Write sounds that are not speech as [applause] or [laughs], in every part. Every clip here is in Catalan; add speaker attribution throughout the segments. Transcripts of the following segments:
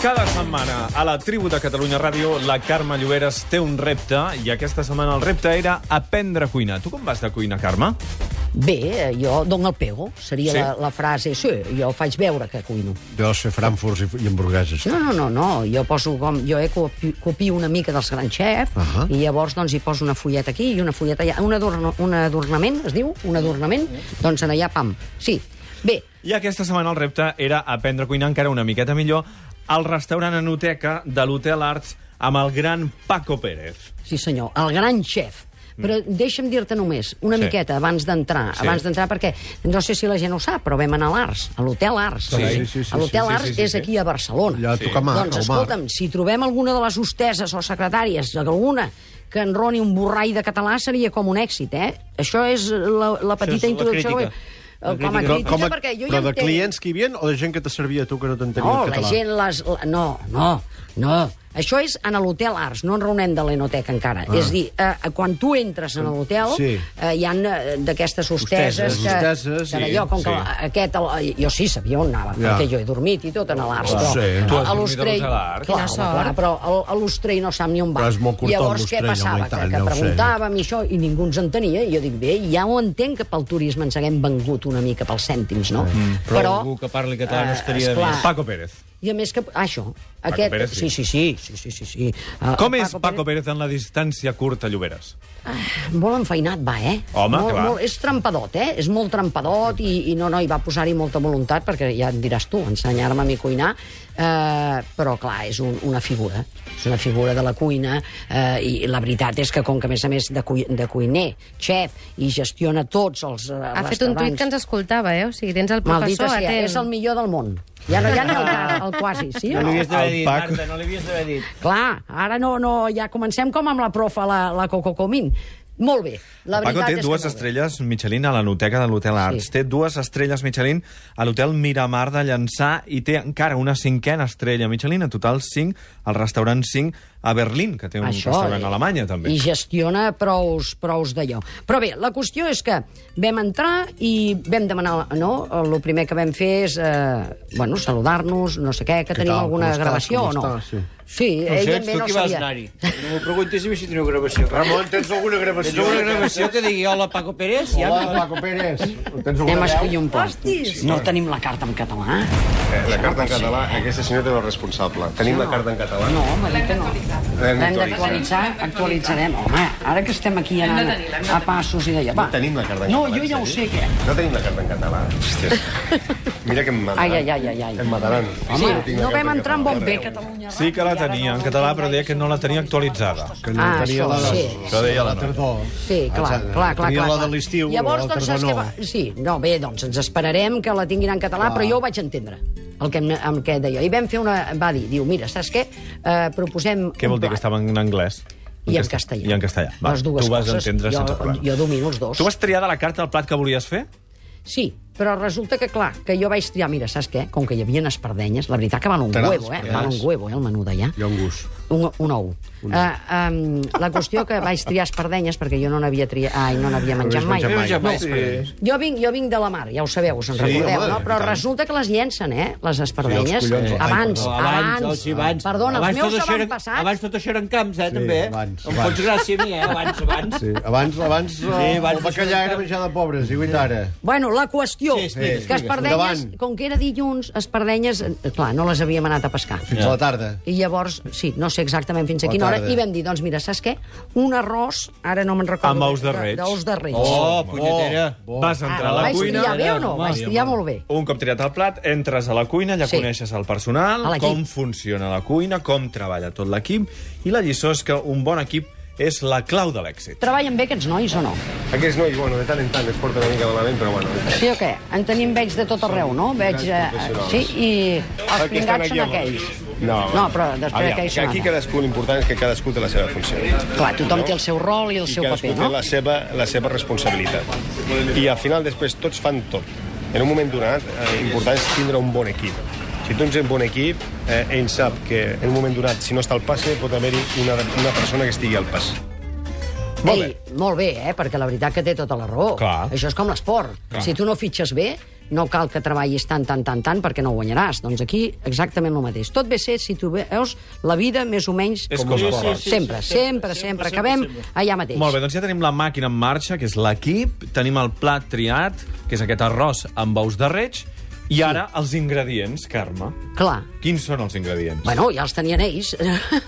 Speaker 1: setmana a la tribu de Catalunya Ràdio la Carme Lloberes té un repte i aquesta setmana el repte era aprendre a cuinar. Tu com vas de cuina, Carme?
Speaker 2: Bé, eh, jo dono el pego, seria
Speaker 1: Sí?
Speaker 2: sí. la, la frase. Sí, jo faig veure que cuino.
Speaker 3: Deus fer frankfurts i, i hamburgueses.
Speaker 2: No, no, no, no. jo poso com... Jo eh, copi, copio una mica dels grans xefs uh
Speaker 3: Ahà.
Speaker 2: -huh. i llavors doncs, hi poso una fulleta aquí i una fulleta allà. Un, adorno, un adornament, es diu? Un adornament? Doncs en allà, pam. Sí. Bé,
Speaker 1: I aquesta setmana el repte era aprendre a cuinar encara una miqueta millor al restaurant Anoteca de l'Hotel Arts amb el gran Paco Pérez.
Speaker 2: Sí, senyor, el gran xef. Però deixa'm dir-te només, una
Speaker 1: Mm. Sí.
Speaker 2: sí. miqueta, abans d'entrar,
Speaker 1: Sí.
Speaker 2: sí. abans d'entrar, perquè no sé si la gent ho sap, però vam anar a l'Ars, a l'Hotel Ars.
Speaker 3: Sí, sí, sí, sí,
Speaker 2: L'Hotel
Speaker 1: sí, sí,
Speaker 2: Ars
Speaker 1: sí, sí.
Speaker 2: és aquí a Barcelona.
Speaker 3: Allà a tocar mà,
Speaker 2: doncs,
Speaker 3: al mar.
Speaker 2: escolta'm, si trobem alguna de les hosteses o secretàries, alguna que enroni un borrall de català, seria com un èxit, eh? Això és la, la petita
Speaker 1: és la
Speaker 2: introducció.
Speaker 1: crítica.
Speaker 2: Eh, Com a crítica, com a... perquè jo
Speaker 3: però
Speaker 2: ja
Speaker 3: de
Speaker 2: entenc...
Speaker 3: clients que hi havia o de gent que te servia a tu que no t'entenia
Speaker 2: No, Oh,
Speaker 3: el
Speaker 2: la
Speaker 3: català?
Speaker 2: gent les... la- No, no, no. Això és en l'hotel Arts, no en raonem de l'Enoteca encara. Ah. És a dir, eh, quan tu entres en l'hotel,
Speaker 3: Sí.
Speaker 2: sí. eh, hi ha eh, d'aquestes hosteses,
Speaker 3: Hosteses,
Speaker 2: que,
Speaker 3: hosteses,
Speaker 2: que
Speaker 3: sí,
Speaker 2: d'allò, com
Speaker 1: sí.
Speaker 2: que la- aquest... El, eh, jo sí sabia on anava,
Speaker 3: Ja.
Speaker 2: perquè jo he dormit i tot en l'Arts.
Speaker 3: Oh,
Speaker 2: però
Speaker 3: sí.
Speaker 2: a-
Speaker 3: Tu
Speaker 2: a
Speaker 3: has
Speaker 1: dormit a
Speaker 2: l'Ostrell-
Speaker 1: l'hotel Arts?
Speaker 2: Clar,
Speaker 4: Quina
Speaker 2: clar,
Speaker 4: sort.
Speaker 2: però el- a l'Ostrell no sap ni on va.
Speaker 3: Però és molt curtet,
Speaker 2: Llavors, què
Speaker 3: l'Ostrell, home,
Speaker 2: passava?
Speaker 3: i tant,
Speaker 2: que,
Speaker 3: ja ho
Speaker 2: que
Speaker 3: sé.
Speaker 2: preguntàvem i això, i ningú ens entenia. I jo dic, bé, ja ho entenc que pel turisme ens haguem vengut una mica pels cèntims, no? Mm.
Speaker 5: Però algú que parli català no estaria bé.
Speaker 2: esclar,
Speaker 1: Paco Pérez.
Speaker 2: i a més que... Ah, això. Aquest...
Speaker 1: Pérez, sí.
Speaker 2: sí, sí, sí, sí, sí, sí, sí. Ah,
Speaker 1: Com
Speaker 2: el
Speaker 1: és Paco Pérez en la distància curta, Lloberes?
Speaker 2: Pérez? Molt enfeinat va, eh?
Speaker 1: Home,
Speaker 2: molt,
Speaker 1: que va.
Speaker 2: Molt, és trampadot, eh? És molt trampadot i, i no, no, hi va posar-hi molta voluntat perquè ja et diràs tu, ensenyar-me a mi cuinar. Eh, però, clar, és un, una figura. És una figura de la cuina eh, i la veritat és que, com que, a més a més, de, cui, de cuiner, xef i gestiona tots els eh,
Speaker 4: Ha eh? fet un tuit que ens escoltava, eh? O sigui, tens el
Speaker 2: Maldita
Speaker 4: professor
Speaker 2: sea,
Speaker 4: atent.
Speaker 2: és el millor del món. Ja
Speaker 4: [laughs]
Speaker 2: no hi ha ni el, el quasi, sí o
Speaker 5: No
Speaker 2: no?
Speaker 5: li havies d'haver
Speaker 1: El
Speaker 5: dit,
Speaker 1: Paco.
Speaker 5: Marta, no li havies d'haver dit.
Speaker 2: Clar, ara no, no, ja comencem com amb la profa, la, la Coco Comín. Molt bé, la
Speaker 1: Paco
Speaker 2: veritat
Speaker 1: té dues
Speaker 2: és que molt bé.
Speaker 1: estrelles Michelin a l'anoteca de l'Hotel Arts.
Speaker 2: Sí.
Speaker 1: Té dues estrelles Michelin a l'Hotel Miramar de Llançà i té encara una cinquena estrella Michelin, en total cinc, al restaurant 5 a Berlín, que té un restaurant
Speaker 2: eh,
Speaker 1: a Alemanya, també.
Speaker 2: I gestiona prous, prous d'allò. Però bé, la qüestió és que vam entrar i vam demanar... No? El primer que vam fer és eh, bueno, saludar-nos, no sé què, que
Speaker 3: Què
Speaker 2: tenim
Speaker 3: tal?
Speaker 2: alguna
Speaker 3: Com estàs?
Speaker 2: gravació
Speaker 3: Com
Speaker 2: o no.
Speaker 3: estàs? Sí.
Speaker 2: sí
Speaker 5: No sé,
Speaker 2: ella
Speaker 5: ets
Speaker 2: bé
Speaker 5: tu
Speaker 2: no
Speaker 5: qui vas
Speaker 2: sabia.
Speaker 5: anar-hi. No m'ho preguntis si teniu gravació.
Speaker 3: Ramon, tens alguna
Speaker 5: Tens
Speaker 3: gravació?
Speaker 5: una gravació que digui hola Paco Pérez? Ja
Speaker 3: Hola, Paco Pérez. Tens
Speaker 2: Anem
Speaker 3: alguna
Speaker 2: a escollir
Speaker 3: veu?
Speaker 2: un pont. Hostis. No tenim la carta en català.
Speaker 6: Eh, La carta en català, aquesta senyora té la responsable. Tenim la carta en català.
Speaker 2: No, home, dic que no.
Speaker 6: L'hem
Speaker 2: L'hem d'actualitzar,
Speaker 6: d'actualitzar.
Speaker 2: actualitzarem. Home, ara que estem aquí anant a passos i d'allà. Va.
Speaker 6: No tenim la carta en
Speaker 2: No,
Speaker 6: català.
Speaker 2: jo ja ho sé, què.
Speaker 6: No tenim la carta en català.
Speaker 2: [laughs]
Speaker 6: Hòstia. Mira que em mataran.
Speaker 2: Ai, ai, ai, ai, ai.
Speaker 6: Em mataran.
Speaker 2: Home,
Speaker 6: Sí, tinc la
Speaker 2: no
Speaker 6: carta
Speaker 2: vam
Speaker 6: en
Speaker 2: entrar en
Speaker 6: català.
Speaker 2: bon bé,
Speaker 6: Ara,
Speaker 2: Catalunya.
Speaker 1: Sí que la tenia en català, però deia que no la tenia actualitzada.
Speaker 3: Que
Speaker 2: Ah,
Speaker 3: tenia
Speaker 2: això,
Speaker 3: la de-
Speaker 2: sí.
Speaker 1: Això deia la Nora.
Speaker 3: Tardor.
Speaker 2: Sí, clar,
Speaker 3: Exacte.
Speaker 2: clar, clar.
Speaker 3: Tenia
Speaker 2: clar,
Speaker 3: la
Speaker 2: clar.
Speaker 3: de l'estiu,
Speaker 2: Llavors,
Speaker 3: la
Speaker 2: doncs,
Speaker 3: tardor
Speaker 2: saps
Speaker 3: no.
Speaker 2: què va? Sí, no, bé, doncs ens esperarem que la tinguin en català, però jo ho vaig entendre, el que, em- el que deia. I vam fer una... Va dir, diu, mira, saps què? Eh, proposem
Speaker 1: Què vol
Speaker 2: un
Speaker 1: dir que
Speaker 2: plat.
Speaker 1: estava en anglès?
Speaker 2: I en castellà.
Speaker 1: I en castellà. Va,
Speaker 2: Les dues
Speaker 1: tu vas
Speaker 2: coses,
Speaker 1: entendre
Speaker 2: jo,
Speaker 1: sense problema.
Speaker 2: Jo domino els dos.
Speaker 1: Tu vas triar de la carta el plat que volies fer?
Speaker 2: Sí, però resulta que, clar, que jo vaig triar... Mira, saps què? Com que hi havia espardenyes, la veritat que van un
Speaker 3: T'agrada
Speaker 2: huevo, eh?
Speaker 3: espardenyes?
Speaker 2: Van un huevo, eh, el menú d'allà.
Speaker 3: Hi ha un gust.
Speaker 2: Un, un ou. Uh, um, la qüestió que vaig triar espardenyes perquè jo no n'havia triat... Ai, no n'havia menjat mai.
Speaker 3: menjat
Speaker 5: ja vaig.
Speaker 2: Jo vinc, jo vinc de la mar, ja ho sabeu, us en
Speaker 3: Sí,
Speaker 2: recordeu,
Speaker 3: home,
Speaker 2: no?
Speaker 3: i
Speaker 2: Però
Speaker 3: tant.
Speaker 2: resulta que les llencen, eh, les espardenyes.
Speaker 3: Sí, els collons.
Speaker 2: abans,
Speaker 5: No,
Speaker 2: abans,
Speaker 5: abans, sí, abans.
Speaker 2: Perdona, els
Speaker 5: abans
Speaker 2: meus
Speaker 5: tot
Speaker 2: ja
Speaker 5: això
Speaker 2: van
Speaker 5: eren-
Speaker 2: passar.
Speaker 5: Abans tot això eren camps, eh, també. eh?
Speaker 3: abans,
Speaker 5: Em
Speaker 3: abans.
Speaker 5: fots gràcia a mi, eh? Abans, abans.
Speaker 3: Sí, abans, abans, sí,
Speaker 5: abans
Speaker 3: el bacallà era menjar de pobres, i ho ara.
Speaker 2: Bueno, la qüestió,
Speaker 5: Sí, explica,
Speaker 2: que
Speaker 5: explica.
Speaker 2: espardenyes,
Speaker 3: Endavant.
Speaker 2: com que era dilluns, espardenyes, eh, clar, no les havíem anat a pescar.
Speaker 3: Fins a la tarda.
Speaker 2: I llavors, sí, no sé exactament fins a
Speaker 3: Bona
Speaker 2: quina hora,
Speaker 3: tarda.
Speaker 2: i vam dir, doncs mira, saps què? Un arròs, ara no me'n recordo...
Speaker 1: Amb ous de reig.
Speaker 2: D'ous de reig.
Speaker 5: Oh, punyetera.
Speaker 3: Bo.
Speaker 1: Vas
Speaker 2: Ah,
Speaker 1: entrar a la
Speaker 2: vaig
Speaker 1: cuina...
Speaker 2: triar bé o no?
Speaker 5: Home,
Speaker 2: Vaig triar molt bé.
Speaker 1: Un cop triat el plat, entres a la cuina, ja
Speaker 2: Sí.
Speaker 1: coneixes el personal,
Speaker 2: A l'equip.
Speaker 1: com funciona la cuina, com treballa tot l'equip, i la lliçó és que un bon equip és la clau de l'èxit.
Speaker 2: Treballen bé aquests nois o no?
Speaker 6: Aquests nois, bueno, de tant en tant es porten una mica malament, però bueno.
Speaker 2: Sí o què? En tenim veig de tot arreu, no? Veig, eh,
Speaker 6: professionals.
Speaker 2: sí, i els pringats són
Speaker 6: home.
Speaker 2: aquells.
Speaker 6: No,
Speaker 2: No, però després
Speaker 6: Aviam,
Speaker 2: aquells
Speaker 6: que
Speaker 2: són
Speaker 6: aquí
Speaker 2: altres.
Speaker 6: cadascú, l'important és que cadascú té la seva funció.
Speaker 2: Clar, tothom té el seu rol i el
Speaker 6: i
Speaker 2: seu
Speaker 6: cadascú
Speaker 2: paper,
Speaker 6: té
Speaker 2: no?
Speaker 6: la seva, la seva responsabilitat. I al final després tots fan tot. En un moment donat, eh, important és tindre un bon equip. Si tu tens un bon equip, eh, ell sap que en un moment donat, si no està al passe, pot haver-hi una, una persona que estigui al passe. Molt
Speaker 2: Ei, molt bé, eh? perquè la veritat que té tota la raó.
Speaker 1: Clar.
Speaker 2: Això és com l'esport. Si tu no fitxes bé, no cal que treballis tant, tant, tant, tant, perquè no guanyaràs. Doncs aquí exactament el mateix. Tot ve ser, si tu veus, la vida més o menys...
Speaker 1: És
Speaker 2: com
Speaker 1: com
Speaker 2: un
Speaker 1: l'esport.
Speaker 2: esport.
Speaker 1: Sí, sí,
Speaker 5: sí,
Speaker 2: sempre, sempre,
Speaker 5: sí,
Speaker 2: sempre, sempre,
Speaker 5: sempre, sempre,
Speaker 2: acabem
Speaker 5: sempre.
Speaker 2: allà mateix.
Speaker 1: Molt bé, doncs ja tenim la màquina en marxa, que és l'equip, tenim el plat triat, que és aquest arròs amb ous de reig, i ara els ingredients, Carme.
Speaker 2: Clar.
Speaker 1: Quins són els ingredients?
Speaker 2: Bueno, ja els tenien ells.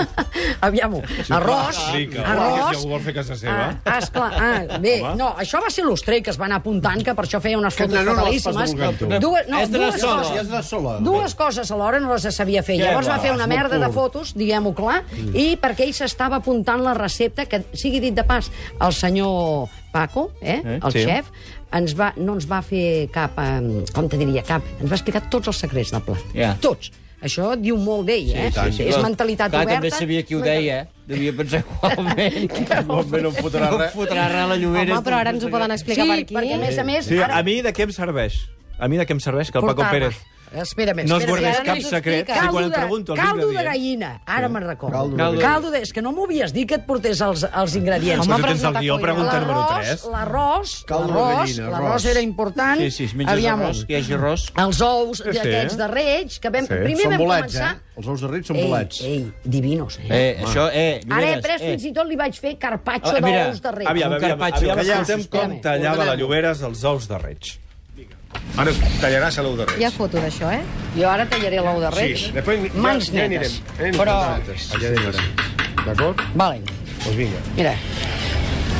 Speaker 2: [laughs] Aviam-ho. Arròs,
Speaker 1: Explica. Si
Speaker 2: arròs...
Speaker 1: algú vol fer casa seva.
Speaker 2: Ah, ah, esclar, ah, bé,
Speaker 1: Home.
Speaker 2: no, això va ser l'Ostrell que es va anar apuntant, que per això feia unes
Speaker 3: Que
Speaker 2: fotos
Speaker 3: no, no les pots
Speaker 2: fatalíssimes.
Speaker 3: divulgar, tu.
Speaker 2: Dues, no,
Speaker 5: És de la
Speaker 2: dues
Speaker 5: sola.
Speaker 2: coses.
Speaker 3: Ja és de sola. doncs,
Speaker 2: Dues coses alhora no les sabia fer. Llavors va
Speaker 3: va,
Speaker 2: fer una
Speaker 3: és molt
Speaker 2: merda de
Speaker 3: curt.
Speaker 2: fotos, diguem-ho clar, i perquè ell s'estava apuntant la recepta, que sigui dit de pas, el senyor Paco, eh,
Speaker 1: Eh,
Speaker 2: el
Speaker 1: sí.
Speaker 2: xef, ens va, no ens va fer cap, eh, com te diria, cap, ens va explicar tots els secrets del plat.
Speaker 5: Ja.
Speaker 2: Tots. Això diu molt d'ell, eh?
Speaker 5: tant, sí,
Speaker 2: és
Speaker 5: clar.
Speaker 2: mentalitat
Speaker 5: Clar,
Speaker 2: oberta.
Speaker 5: també sabia qui ho deia, eh? Devia
Speaker 2: [laughs]
Speaker 5: pensar igualment.
Speaker 3: Igualment no em fotrà
Speaker 5: No
Speaker 3: res.
Speaker 5: fotrà res a la
Speaker 4: Home,
Speaker 5: Llobera.
Speaker 4: però ara ens ho poden
Speaker 2: Sí,
Speaker 4: explicar per aquí.
Speaker 2: perquè a més a més...
Speaker 1: Sí,
Speaker 2: ara-
Speaker 1: a mi de què em serveix? A mi de què em serveix que el Paco
Speaker 2: Portava.
Speaker 1: Pérez
Speaker 2: Espera, més,
Speaker 1: no es
Speaker 2: espera,
Speaker 1: guardés
Speaker 2: espera.
Speaker 4: ara
Speaker 1: cap
Speaker 4: ens ho
Speaker 1: secret?
Speaker 4: explica.
Speaker 1: I quan em pregunto els
Speaker 2: caldo de
Speaker 1: ingredients...
Speaker 2: gallina, ara me'n recordo.
Speaker 3: Caldo de
Speaker 1: eh? Caldo de-
Speaker 2: caldo de... És que no m'ho havies dit que et portés els, els ingredients.
Speaker 1: Home,
Speaker 4: Home,
Speaker 1: tu
Speaker 4: però
Speaker 1: tens
Speaker 4: és
Speaker 1: el
Speaker 4: una
Speaker 1: guió,
Speaker 4: tacolla.
Speaker 1: pregunta número
Speaker 2: L'arròs,
Speaker 1: 3.
Speaker 2: l'arròs,
Speaker 3: Caldo de
Speaker 2: l'arròs,
Speaker 3: gallina,
Speaker 2: l'arròs
Speaker 3: arròs.
Speaker 2: era important.
Speaker 5: Sí, sí, es menges
Speaker 2: Aviam,
Speaker 5: arròs, que hi hagi arròs.
Speaker 2: Els ous
Speaker 1: Sí.
Speaker 2: d'aquests de reig, que vam...
Speaker 1: Sí.
Speaker 2: Primer
Speaker 3: Són
Speaker 2: vam
Speaker 3: bolets, eh?
Speaker 2: començar...
Speaker 3: Els ous de Ritz són
Speaker 2: Ei,
Speaker 3: bolets.
Speaker 2: ei, divinos, eh?
Speaker 5: Eh, això, eh, Lloberes,
Speaker 2: Ara he pres,
Speaker 5: eh.
Speaker 2: fins i tot li vaig fer carpaccio
Speaker 5: Ah, mira,
Speaker 2: d'ous de reig.
Speaker 1: Aviam,
Speaker 5: Un
Speaker 1: aviam,
Speaker 5: carpaccio.
Speaker 1: aviam,
Speaker 3: Calleu,
Speaker 1: escoltem com
Speaker 2: espera.
Speaker 1: tallava la
Speaker 3: Ordenem-ho.
Speaker 1: Lloberes els ous de reig.
Speaker 6: Ara tallaràs l'ou de reig.
Speaker 4: Hi ha foto d'això, eh?
Speaker 2: Jo ara tallaré l'ou de reig.
Speaker 6: Sí, després ja-
Speaker 2: Mans
Speaker 6: ja
Speaker 2: netes.
Speaker 6: anirem. eh, Anem
Speaker 2: Però,
Speaker 3: Allà dintre. D'acord?
Speaker 2: vale,
Speaker 6: Doncs vinga.
Speaker 2: mira.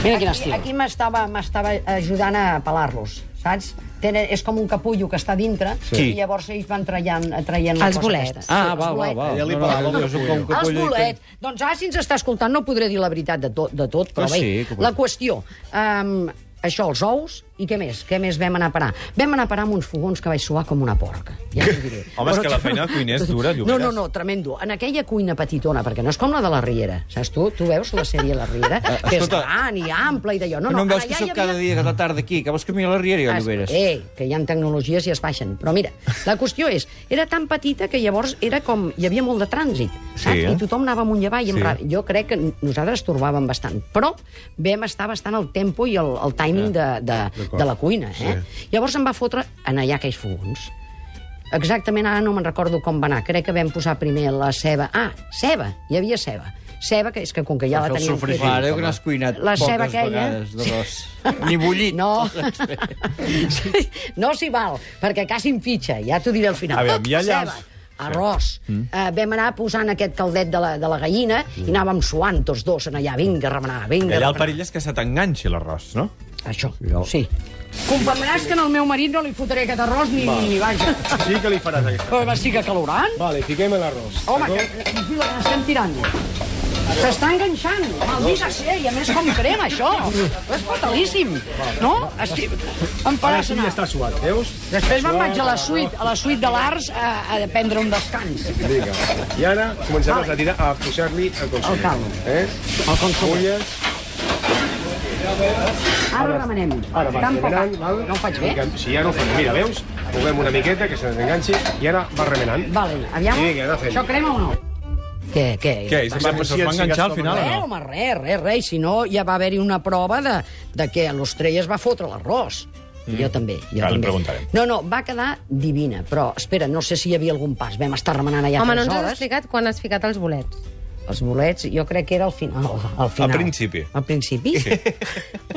Speaker 2: Mira quin
Speaker 4: estil.
Speaker 2: Aquí m'estava m'estava ajudant a pelar-los, saps? Tenen, és com un capullo que està dintre
Speaker 5: Sí.
Speaker 2: i llavors ells van traient, traient la
Speaker 4: Els
Speaker 2: cosa
Speaker 4: bolets.
Speaker 2: aquesta.
Speaker 5: Ah,
Speaker 2: els
Speaker 5: va, va,
Speaker 2: bolets.
Speaker 5: va.
Speaker 3: Ja li
Speaker 5: No, no,
Speaker 3: parlo,
Speaker 5: no, no, jo com que
Speaker 2: Els
Speaker 5: pollo i
Speaker 2: bolets. Doncs ara, si ens està escoltant, no podré dir la veritat de tot, de tot però
Speaker 5: Ah,
Speaker 2: bé,
Speaker 5: sí, que
Speaker 2: la
Speaker 5: podré.
Speaker 2: qüestió... Um, això, els ous, i què més? Què més vam anar a parar? Vam anar a parar amb uns fogons que vaig suar com una porca. Ja t'ho
Speaker 5: [laughs]
Speaker 2: diré.
Speaker 1: Home, és
Speaker 2: Però
Speaker 1: que la feina de cuiner és dura,
Speaker 2: No,
Speaker 1: Lloberes.
Speaker 2: no, no, tremendo. En aquella cuina petitona, perquè no és com la de la Riera, saps tu? Tu veus la sèrie La Riera, que és
Speaker 5: Eh, escolta,
Speaker 2: gran i ampla i d'allò. No,
Speaker 5: No,
Speaker 2: no,
Speaker 5: no em veus
Speaker 2: ara
Speaker 5: que
Speaker 2: ja hi
Speaker 5: sóc
Speaker 2: havia
Speaker 5: cada dia a la tarda aquí? Que vols que miri la Riera i la Lloberes?
Speaker 2: Eh, que hi ha tecnologies i es baixen. Però mira, la qüestió és, era tan petita que llavors era com... Hi havia molt de trànsit, saps?
Speaker 1: Sí, eh?
Speaker 2: I tothom anava amunt i avall.
Speaker 1: Sí.
Speaker 2: Sí. Jo crec que nosaltres torbàvem bastant. Però vam estar bastant al tempo i el, el timing de, de, de la cuina, eh? Llavors em va fotre en allà aquells fogons. Exactament, ara no me'n recordo com va anar. Crec que vam posar primer la ceba. Ah, ceba! Hi havia ceba. Ceba, que és que com que ja la
Speaker 3: Per fer el
Speaker 2: teníem...
Speaker 3: sofregit.
Speaker 2: feta-
Speaker 5: Mare, que n'has cuinat
Speaker 2: La
Speaker 5: poques
Speaker 2: ceba aquella.
Speaker 5: vegades d'arròs.
Speaker 2: [laughs]
Speaker 5: Ni bullit. [laughs]
Speaker 2: No, Sí, no s'hi val, perquè quasi em fitxa, ja t'ho diré al final.
Speaker 1: A veure, hi ha llaç.
Speaker 2: Ceba, arròs. Mm. Uh, vam anar posant aquest caldet de la, de la gallina i anàvem suant tots dos en allà, vinga, remenar,
Speaker 1: I
Speaker 2: vinga,
Speaker 1: allà el
Speaker 2: remenar.
Speaker 1: perill és que se t'enganxi l'arròs, no?
Speaker 2: Això, sí. Comprendràs que al meu marit no li fotré aquest arròs ni, ni vaja.
Speaker 6: Sí que li faràs aquesta.
Speaker 2: Però va, sí que calorant.
Speaker 6: Vale, fiquem l'arròs.
Speaker 2: Home, que, que, que estem tirant. S'està enganxant. Maldita sea, i a més com crema, això. És fatalíssim. No? Estic... Em faràs anar.
Speaker 6: suat, veus?
Speaker 2: Després me'n vaig a la suite, a la suite de l'Arts a, a prendre un descans.
Speaker 6: Vinga. I ara començaràs a tirar, a posar-li el consum.
Speaker 2: El caldo.
Speaker 6: Eh?
Speaker 2: El consum.
Speaker 6: Fulles.
Speaker 2: Ara remenem.
Speaker 6: Ara vas
Speaker 2: Tampoc.
Speaker 6: remenant, val?
Speaker 2: No ho faig bé?
Speaker 6: Mica- Si ja no ho fas, mira, veus? Movem una miqueta, que se desenganxi, i ara vas remenant.
Speaker 2: Vale, aviam.
Speaker 6: Sí, que ha de fer.
Speaker 2: Això crema o no? Què, què?
Speaker 1: Què, i se'n va, se'n va enganxar al final
Speaker 2: Res,
Speaker 1: o no?
Speaker 2: home, res, res, res. Si no, ja va haver-hi una prova de, de que l'Ostrella es va fotre l'arròs. Mm. Jo també, jo
Speaker 1: Ara li
Speaker 2: també.
Speaker 1: preguntarem.
Speaker 2: No, no, va quedar divina, però, espera, no sé si hi havia algun pas. Vam estar remenant allà
Speaker 4: Home, no
Speaker 2: tres
Speaker 4: ens has
Speaker 2: hores.
Speaker 4: explicat quan has ficat els bolets.
Speaker 2: Els bolets, jo crec que era al final. Al, final.
Speaker 1: principi.
Speaker 2: Al principi? Sí.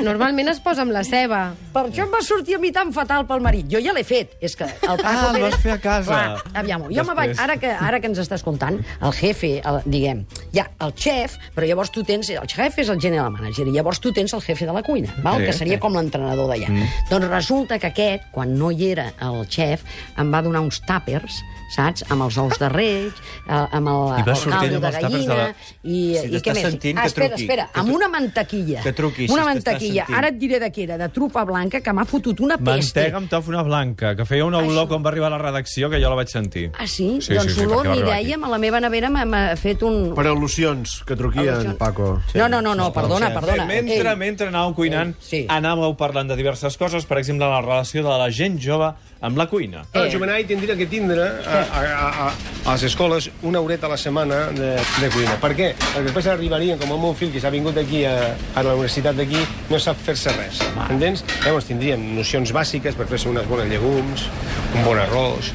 Speaker 4: Normalment es posa amb la ceba.
Speaker 2: Per això em va sortir a mi tan fatal pel marit. Jo ja l'he fet. És que el Paco
Speaker 1: Ah, el
Speaker 2: Pérez-
Speaker 1: vas fer a casa.
Speaker 2: Clar, aviam, jo me vaig...
Speaker 1: Després.
Speaker 2: Ara que, ara que ens estàs contant, el jefe, el, diguem, ja, el xef, però llavors tu tens... El xef és el general manager, i llavors tu tens el jefe de la cuina, val?
Speaker 1: Sí.
Speaker 2: que seria com l'entrenador d'allà. Mm. Doncs resulta que aquest, quan no hi era el xef, em va donar uns tàpers saps? amb els ous de reig, eh, amb el,
Speaker 1: I va
Speaker 2: el
Speaker 1: sortir
Speaker 2: caldo
Speaker 1: amb
Speaker 2: de
Speaker 1: els tàpers de
Speaker 2: gallina...
Speaker 1: la-
Speaker 2: I,
Speaker 5: Si
Speaker 2: i què
Speaker 5: t'estàs
Speaker 2: més?
Speaker 5: sentint,
Speaker 2: ah,
Speaker 5: que
Speaker 2: espera,
Speaker 5: truqui.
Speaker 2: espera,
Speaker 5: Que
Speaker 2: amb
Speaker 5: tru-
Speaker 2: una mantequilla.
Speaker 5: Que truqui, si
Speaker 2: Una
Speaker 5: t'estàs
Speaker 2: mantequilla.
Speaker 5: sentint.
Speaker 2: Ara et diré de què era, de trupa blanca, que m'ha fotut una peste.
Speaker 1: Mantega amb tòfona blanca, que feia una olor quan va arribar a la redacció, que jo la vaig sentir.
Speaker 2: Ah, sí?
Speaker 1: Sí,
Speaker 2: doncs
Speaker 1: sí, sí,
Speaker 2: l'olor
Speaker 1: perquè va
Speaker 2: ni
Speaker 1: arribar aquí.
Speaker 2: dèiem, a la meva nevera m'ha- m'ha fet un...
Speaker 3: Per al·lusions que truquien, Paco.
Speaker 2: No, no, no, no, perdona, perdona.
Speaker 1: Mentre,
Speaker 2: Ei,
Speaker 1: mentre anàveu cuinant,
Speaker 2: Ei, sí.
Speaker 1: anàveu parlant de diverses coses, per exemple, la relació de la gent jove amb la cuina.
Speaker 6: Eh. El jovenai tindria que tindre a, a, a, a, a les escoles una horeta a la setmana de, de cuina. cuina. Per què? Perquè després arribarien, com el meu fill, que s'ha vingut aquí a, a la universitat d'aquí, no sap fer-se res, entens? Llavors tindríem nocions bàsiques per fer-se unes bones llegums, un bon arròs,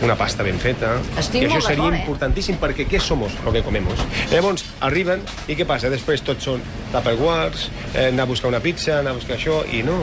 Speaker 6: una pasta ben feta.
Speaker 2: Estic
Speaker 6: I això
Speaker 2: molt
Speaker 6: seria
Speaker 2: d'acord, eh?
Speaker 6: importantíssim perquè què somos lo que comemos. Llavors arriben i què passa? Després tots són tupperwares, eh, anar a buscar una pizza, anar a buscar això, i no,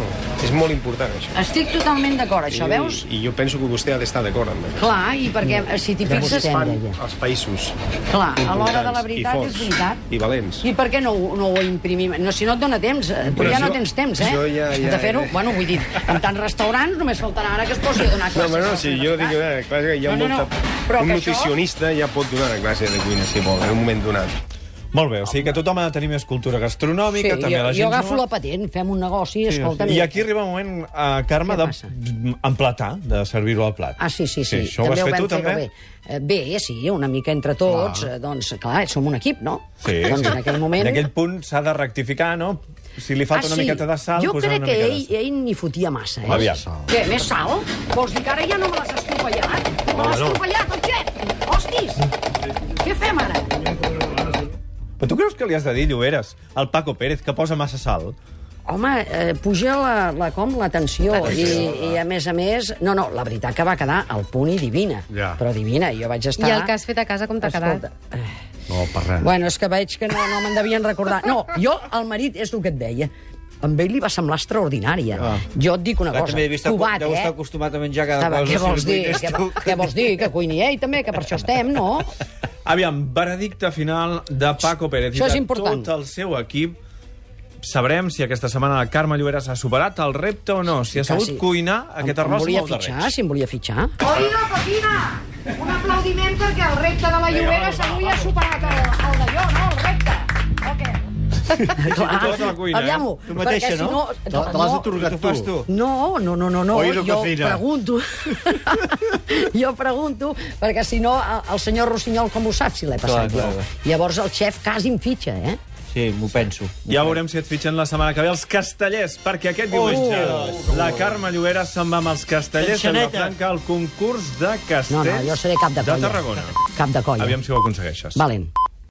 Speaker 6: és molt important això.
Speaker 2: Estic totalment d'acord, això, veus?
Speaker 6: I, I jo penso que vostè ha d'estar d'acord amb això.
Speaker 2: Clar, i perquè eh, si t'hi
Speaker 6: Com
Speaker 2: fixes...
Speaker 6: es fan els països
Speaker 2: Clar, a l'hora de
Speaker 6: importants
Speaker 2: la
Speaker 6: i
Speaker 2: veritat
Speaker 6: forts
Speaker 2: és veritat.
Speaker 6: I valents.
Speaker 2: I per què no, ho- no ho imprimim? No, si no et dona temps, eh, tu
Speaker 6: Però
Speaker 2: ja no
Speaker 6: jo-
Speaker 2: tens temps, eh?
Speaker 6: jo ja- ja-
Speaker 2: de fer-ho,
Speaker 6: ja.
Speaker 2: bueno, vull dir, amb tants restaurants només faltarà ara que es posi a donar classes.
Speaker 6: No, home,
Speaker 2: a
Speaker 6: no,
Speaker 2: les
Speaker 6: si jo dic,
Speaker 2: universitats.
Speaker 6: eh, clar, que hi ha
Speaker 2: No, no, no.
Speaker 6: molta...
Speaker 2: Però
Speaker 6: un
Speaker 2: que això-
Speaker 6: nutricionista ja pot donar una classe de cuina, si vol, en un moment donat.
Speaker 1: Molt bé, o sigui que tothom ha de tenir més cultura
Speaker 2: Sí,
Speaker 1: gastronòmica, també
Speaker 2: jo,
Speaker 1: la
Speaker 2: jo
Speaker 1: gent
Speaker 2: agafo
Speaker 1: jove.
Speaker 2: la patent, fem un negoci, sí, escolta'm...
Speaker 1: I aquí arriba un moment, eh, Carme,
Speaker 2: Què passa?
Speaker 1: d'emplatar, de, servir-ho al plat.
Speaker 2: Ah, sí, sí, sí.
Speaker 1: això ho has
Speaker 2: ho
Speaker 1: fet tu,
Speaker 2: vam fer-ho
Speaker 1: també?
Speaker 2: Bé. Eh, bé, sí, una mica entre tots, clar. doncs, clar, som un equip, no?
Speaker 1: Sí,
Speaker 2: doncs
Speaker 1: sí.
Speaker 2: en aquell moment... Ah,
Speaker 1: En aquell punt s'ha de rectificar, no? Si li falta una miqueta de sal,
Speaker 2: jo
Speaker 1: posar
Speaker 2: crec
Speaker 1: una
Speaker 2: que
Speaker 1: mica
Speaker 2: ell,
Speaker 1: de sal.
Speaker 2: ell n'hi fotia massa, eh?
Speaker 1: Aviam.
Speaker 2: Què, més sal? Vols dir que ara ja no me l'has estropellat? Me l'has estropellat, el xef! Hostis! Què fem ara?
Speaker 1: Però tu creus que li has de dir, Lloberes, al Paco Pérez, que posa massa sal?
Speaker 2: Home, eh, puja la, la, com la tensió i, i, a més a més... No, no, la veritat que va quedar al punt i divina.
Speaker 3: Ja.
Speaker 2: Però divina, jo vaig estar...
Speaker 4: I el que has fet a casa, com t'ha quedat?
Speaker 3: No, per res.
Speaker 2: Bueno, és que veig que no, no me'n devien recordar. No, jo, el marit, és el que et deia. Amb ell li va semblar extraordinària. Ah. Jo et dic una
Speaker 5: Clar,
Speaker 2: cosa,
Speaker 5: també deu estar,
Speaker 2: tubat,
Speaker 5: deu estar
Speaker 2: eh?
Speaker 5: acostumat a menjar cada
Speaker 2: Estava,
Speaker 5: cosa.
Speaker 2: què
Speaker 5: si
Speaker 2: vols
Speaker 5: li
Speaker 2: dir?
Speaker 5: cuines
Speaker 2: Què,
Speaker 5: tu.
Speaker 2: què vols dir? Que cuini ell, també, que per això estem, no?
Speaker 1: Aviam, veredicte final de Paco Pérez
Speaker 2: Això és
Speaker 1: i de
Speaker 2: important.
Speaker 1: tot el seu equip. Sabrem si aquesta setmana la Carme Lloberes ha superat el repte o no, si ha sabut
Speaker 2: Quasi.
Speaker 1: cuinar aquest
Speaker 2: em, em
Speaker 1: arròs
Speaker 2: volia
Speaker 1: amb els
Speaker 2: fitxar,
Speaker 1: darrers.
Speaker 2: si em volia fitxar.
Speaker 7: Oïda, Paquina! Un aplaudiment perquè el repte de la Llobera s'avui ha superat el, el d'allò, no? El repte. O què?
Speaker 1: tota la cuina, eh?
Speaker 2: aviam-ho.
Speaker 5: Tu mateixa,
Speaker 2: perquè si
Speaker 5: no?
Speaker 2: no,
Speaker 3: Te te l'has
Speaker 2: no,
Speaker 3: atorgat
Speaker 5: T'ho
Speaker 3: tu.
Speaker 5: fas tu.
Speaker 2: No, no, no, no, no.
Speaker 3: Oído
Speaker 2: jo
Speaker 3: cocina.
Speaker 2: pregunto. jo pregunto, perquè si no, el- el senyor Rossinyol com ho sap si l'he passat
Speaker 5: Clar, clar,
Speaker 2: jo?
Speaker 5: clar.
Speaker 2: Llavors el xef quasi em fitxa, eh?
Speaker 5: Sí, m'ho penso.
Speaker 1: Ja veurem si et fitxen la setmana que ve els castellers, perquè aquest diumenge la Carme Llobera se'n va amb els castellers a
Speaker 5: Tensioneta.
Speaker 1: Vilafranca al concurs de
Speaker 2: No, no,
Speaker 1: castells
Speaker 2: jo seré cap de colla.
Speaker 1: de Tarragona.
Speaker 2: Cap de colla.
Speaker 1: Aviam si ho aconsegueixes.
Speaker 2: Valent.